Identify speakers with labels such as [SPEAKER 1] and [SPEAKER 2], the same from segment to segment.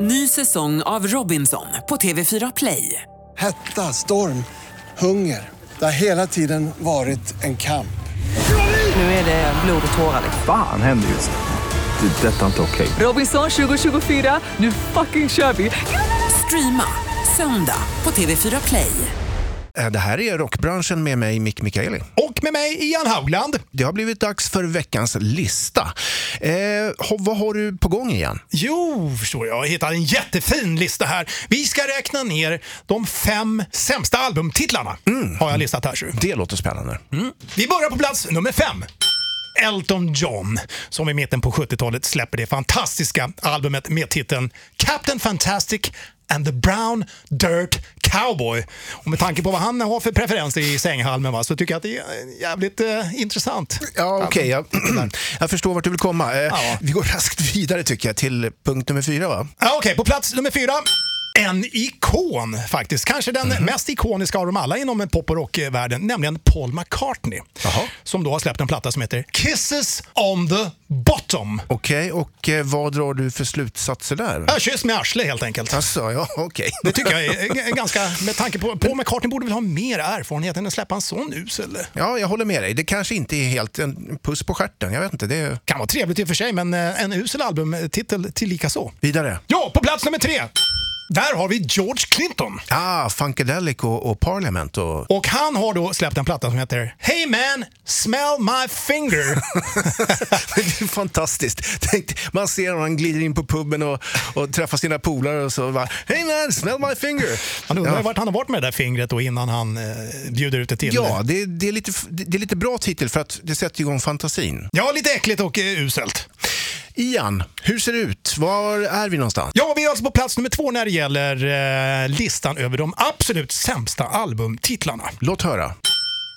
[SPEAKER 1] Ny säsong av Robinson på TV4 Play.
[SPEAKER 2] Hetta, storm, hunger. Det har hela tiden varit en kamp.
[SPEAKER 1] Nu är det blod och tårar.
[SPEAKER 3] Fan händer just nu. Det. är Detta är inte okej.
[SPEAKER 1] Robinson 2024, nu fucking kör vi! Streama söndag på TV4 Play.
[SPEAKER 4] Eh, Det här är rockbranschen med mig, Mick Mikaeli.
[SPEAKER 5] Och med mig Ian Haugland.
[SPEAKER 4] Det har blivit dags för veckans lista. Eh, ho- vad har du på gång igen?
[SPEAKER 5] Jo, förstår jag. Jag hittade en jättefin lista här. Vi ska räkna ner de fem sämsta albumtitlarna. Har jag listat här. Sju.
[SPEAKER 4] Det låter spännande.
[SPEAKER 5] Vi börjar på plats nummer fem. Elton John, som i mitten på 70-talet släpper det fantastiska albumet med titeln Captain Fantastic and the Brown Dirt Cowboy. Och med tanke på vad han har för preferenser i sänghalmen va, så tycker jag att det är jävligt eh, intressant.
[SPEAKER 4] Ja, okej. jag, jag förstår vart du vill komma. Eh,
[SPEAKER 5] Ja.
[SPEAKER 4] Vi går raskt vidare tycker jag till punkt nummer fyra. Va?
[SPEAKER 5] Ja, Okej, på plats nummer fyra. En ikon faktiskt. Kanske den
[SPEAKER 4] Mhm.
[SPEAKER 5] mest ikoniska av dem alla inom pop och rockvärlden, nämligen Paul McCartney.
[SPEAKER 4] Jaha.
[SPEAKER 5] Som då har släppt en platta som heter Kisses on the bottom.
[SPEAKER 4] Okej, och eh, vad drar du för slutsatser där?
[SPEAKER 5] Ja, kyss med arsle helt enkelt.
[SPEAKER 4] Alltså, ja, okej.
[SPEAKER 5] Det tycker jag är g- ganska, med tanke på, Paul McCartney borde väl ha mer erfarenhet än att släppa en sån usel.
[SPEAKER 4] Ja, jag håller med dig. Det kanske inte är helt en puss på stjärten. Jag vet inte. Det är
[SPEAKER 5] Kan vara trevligt i och för sig, men eh, en usel albumtitel till lika så.
[SPEAKER 4] vidare.
[SPEAKER 5] Ja, på plats nummer tre. Där har vi George Clinton.
[SPEAKER 4] Ah, Funkadelic och, och Parliament. Och...
[SPEAKER 5] Och han har då släppt en platta som heter Hey man, smell my finger.
[SPEAKER 4] Det är fantastiskt. Tänk, man ser honom, han glider in på puben och, och träffar sina polare och så bara Hey man, smell my finger!
[SPEAKER 5] Han undrar
[SPEAKER 4] Ja.
[SPEAKER 5] vart han har varit med det där fingret då innan han eh, bjuder ut det till.
[SPEAKER 4] Ja, det, det, är lite, f- det det är lite bra titel för att det sätter igång fantasin.
[SPEAKER 5] ja, lite äckligt och eh, uselt.
[SPEAKER 4] Ian, hur ser det ut? Var är vi någonstans?
[SPEAKER 5] Ja, vi är alltså på plats nummer två när det gäller eh, listan över de absolut sämsta albumtitlarna.
[SPEAKER 4] Låt höra.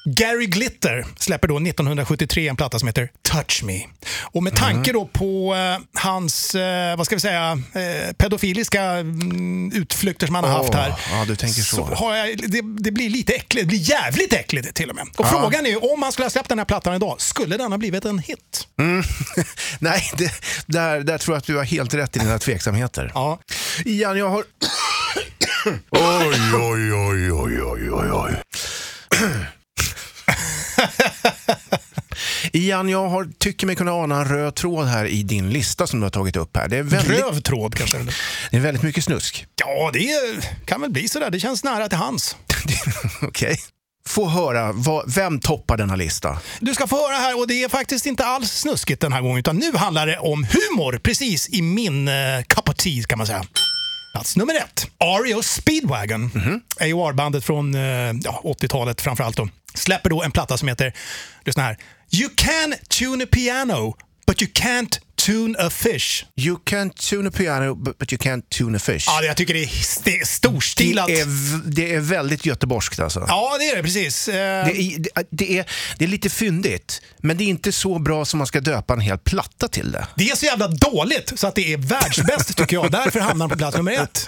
[SPEAKER 5] Gary Glitter släpper då 1973 en platta som heter Touch Me. Och med tanke då på eh, hans, eh, vad ska vi säga, eh, pedofiliska mm, utflykter som han har
[SPEAKER 4] Åh,
[SPEAKER 5] haft här.
[SPEAKER 4] ja, du tänker så.
[SPEAKER 5] har jag, det, det blir lite äckligt, det blir jävligt äckligt till och med. Och frågan är ju, om han skulle ha släppt den här plattan idag, skulle den ha blivit en hit?
[SPEAKER 4] Nej, det, där, där tror jag att du har helt rätt i dina tveksamheter.
[SPEAKER 5] Ja.
[SPEAKER 4] Ian, jag har... oj, oj, oj, oj, oj, oj, oj. Ian, jag har, tycker mig kunna ana en röd tråd här i din lista som du har tagit upp här. Det är väldigt,
[SPEAKER 5] Röv tråd kanske? eller?
[SPEAKER 4] det är väldigt mycket snusk.
[SPEAKER 5] Ja, det är- kan väl bli sådär. Det känns nära till hans.
[SPEAKER 4] Okej. Få höra, vad, vem toppar denna lista?
[SPEAKER 5] Du ska få höra här och det är faktiskt inte alls snuskigt den här gången utan nu handlar det om humor precis i min uh, cup of tea kan man säga. Plats nummer ett. REO Speedwagon,
[SPEAKER 4] Mhm.
[SPEAKER 5] AOR-bandet från eh, ja, 80-talet framförallt då, släpper då en platta som heter, lyssna här, You can tune a piano but you can't tune a fish.
[SPEAKER 4] You can tune a piano but but you can't tune a fish.
[SPEAKER 5] Ja, det- jag tycker det är st-
[SPEAKER 4] det,
[SPEAKER 5] storstilat.
[SPEAKER 4] är, v- det är väldigt göteborgskt alltså.
[SPEAKER 5] Ja, det är det precis. Eh,
[SPEAKER 4] Det är, det- det, är, det är lite fyndigt, men det är inte så bra som man ska döpa en hel platta till det.
[SPEAKER 5] Det är så jävla dåligt så att det är världsbäst tycker jag. Därför hamnar han på plats nummer ett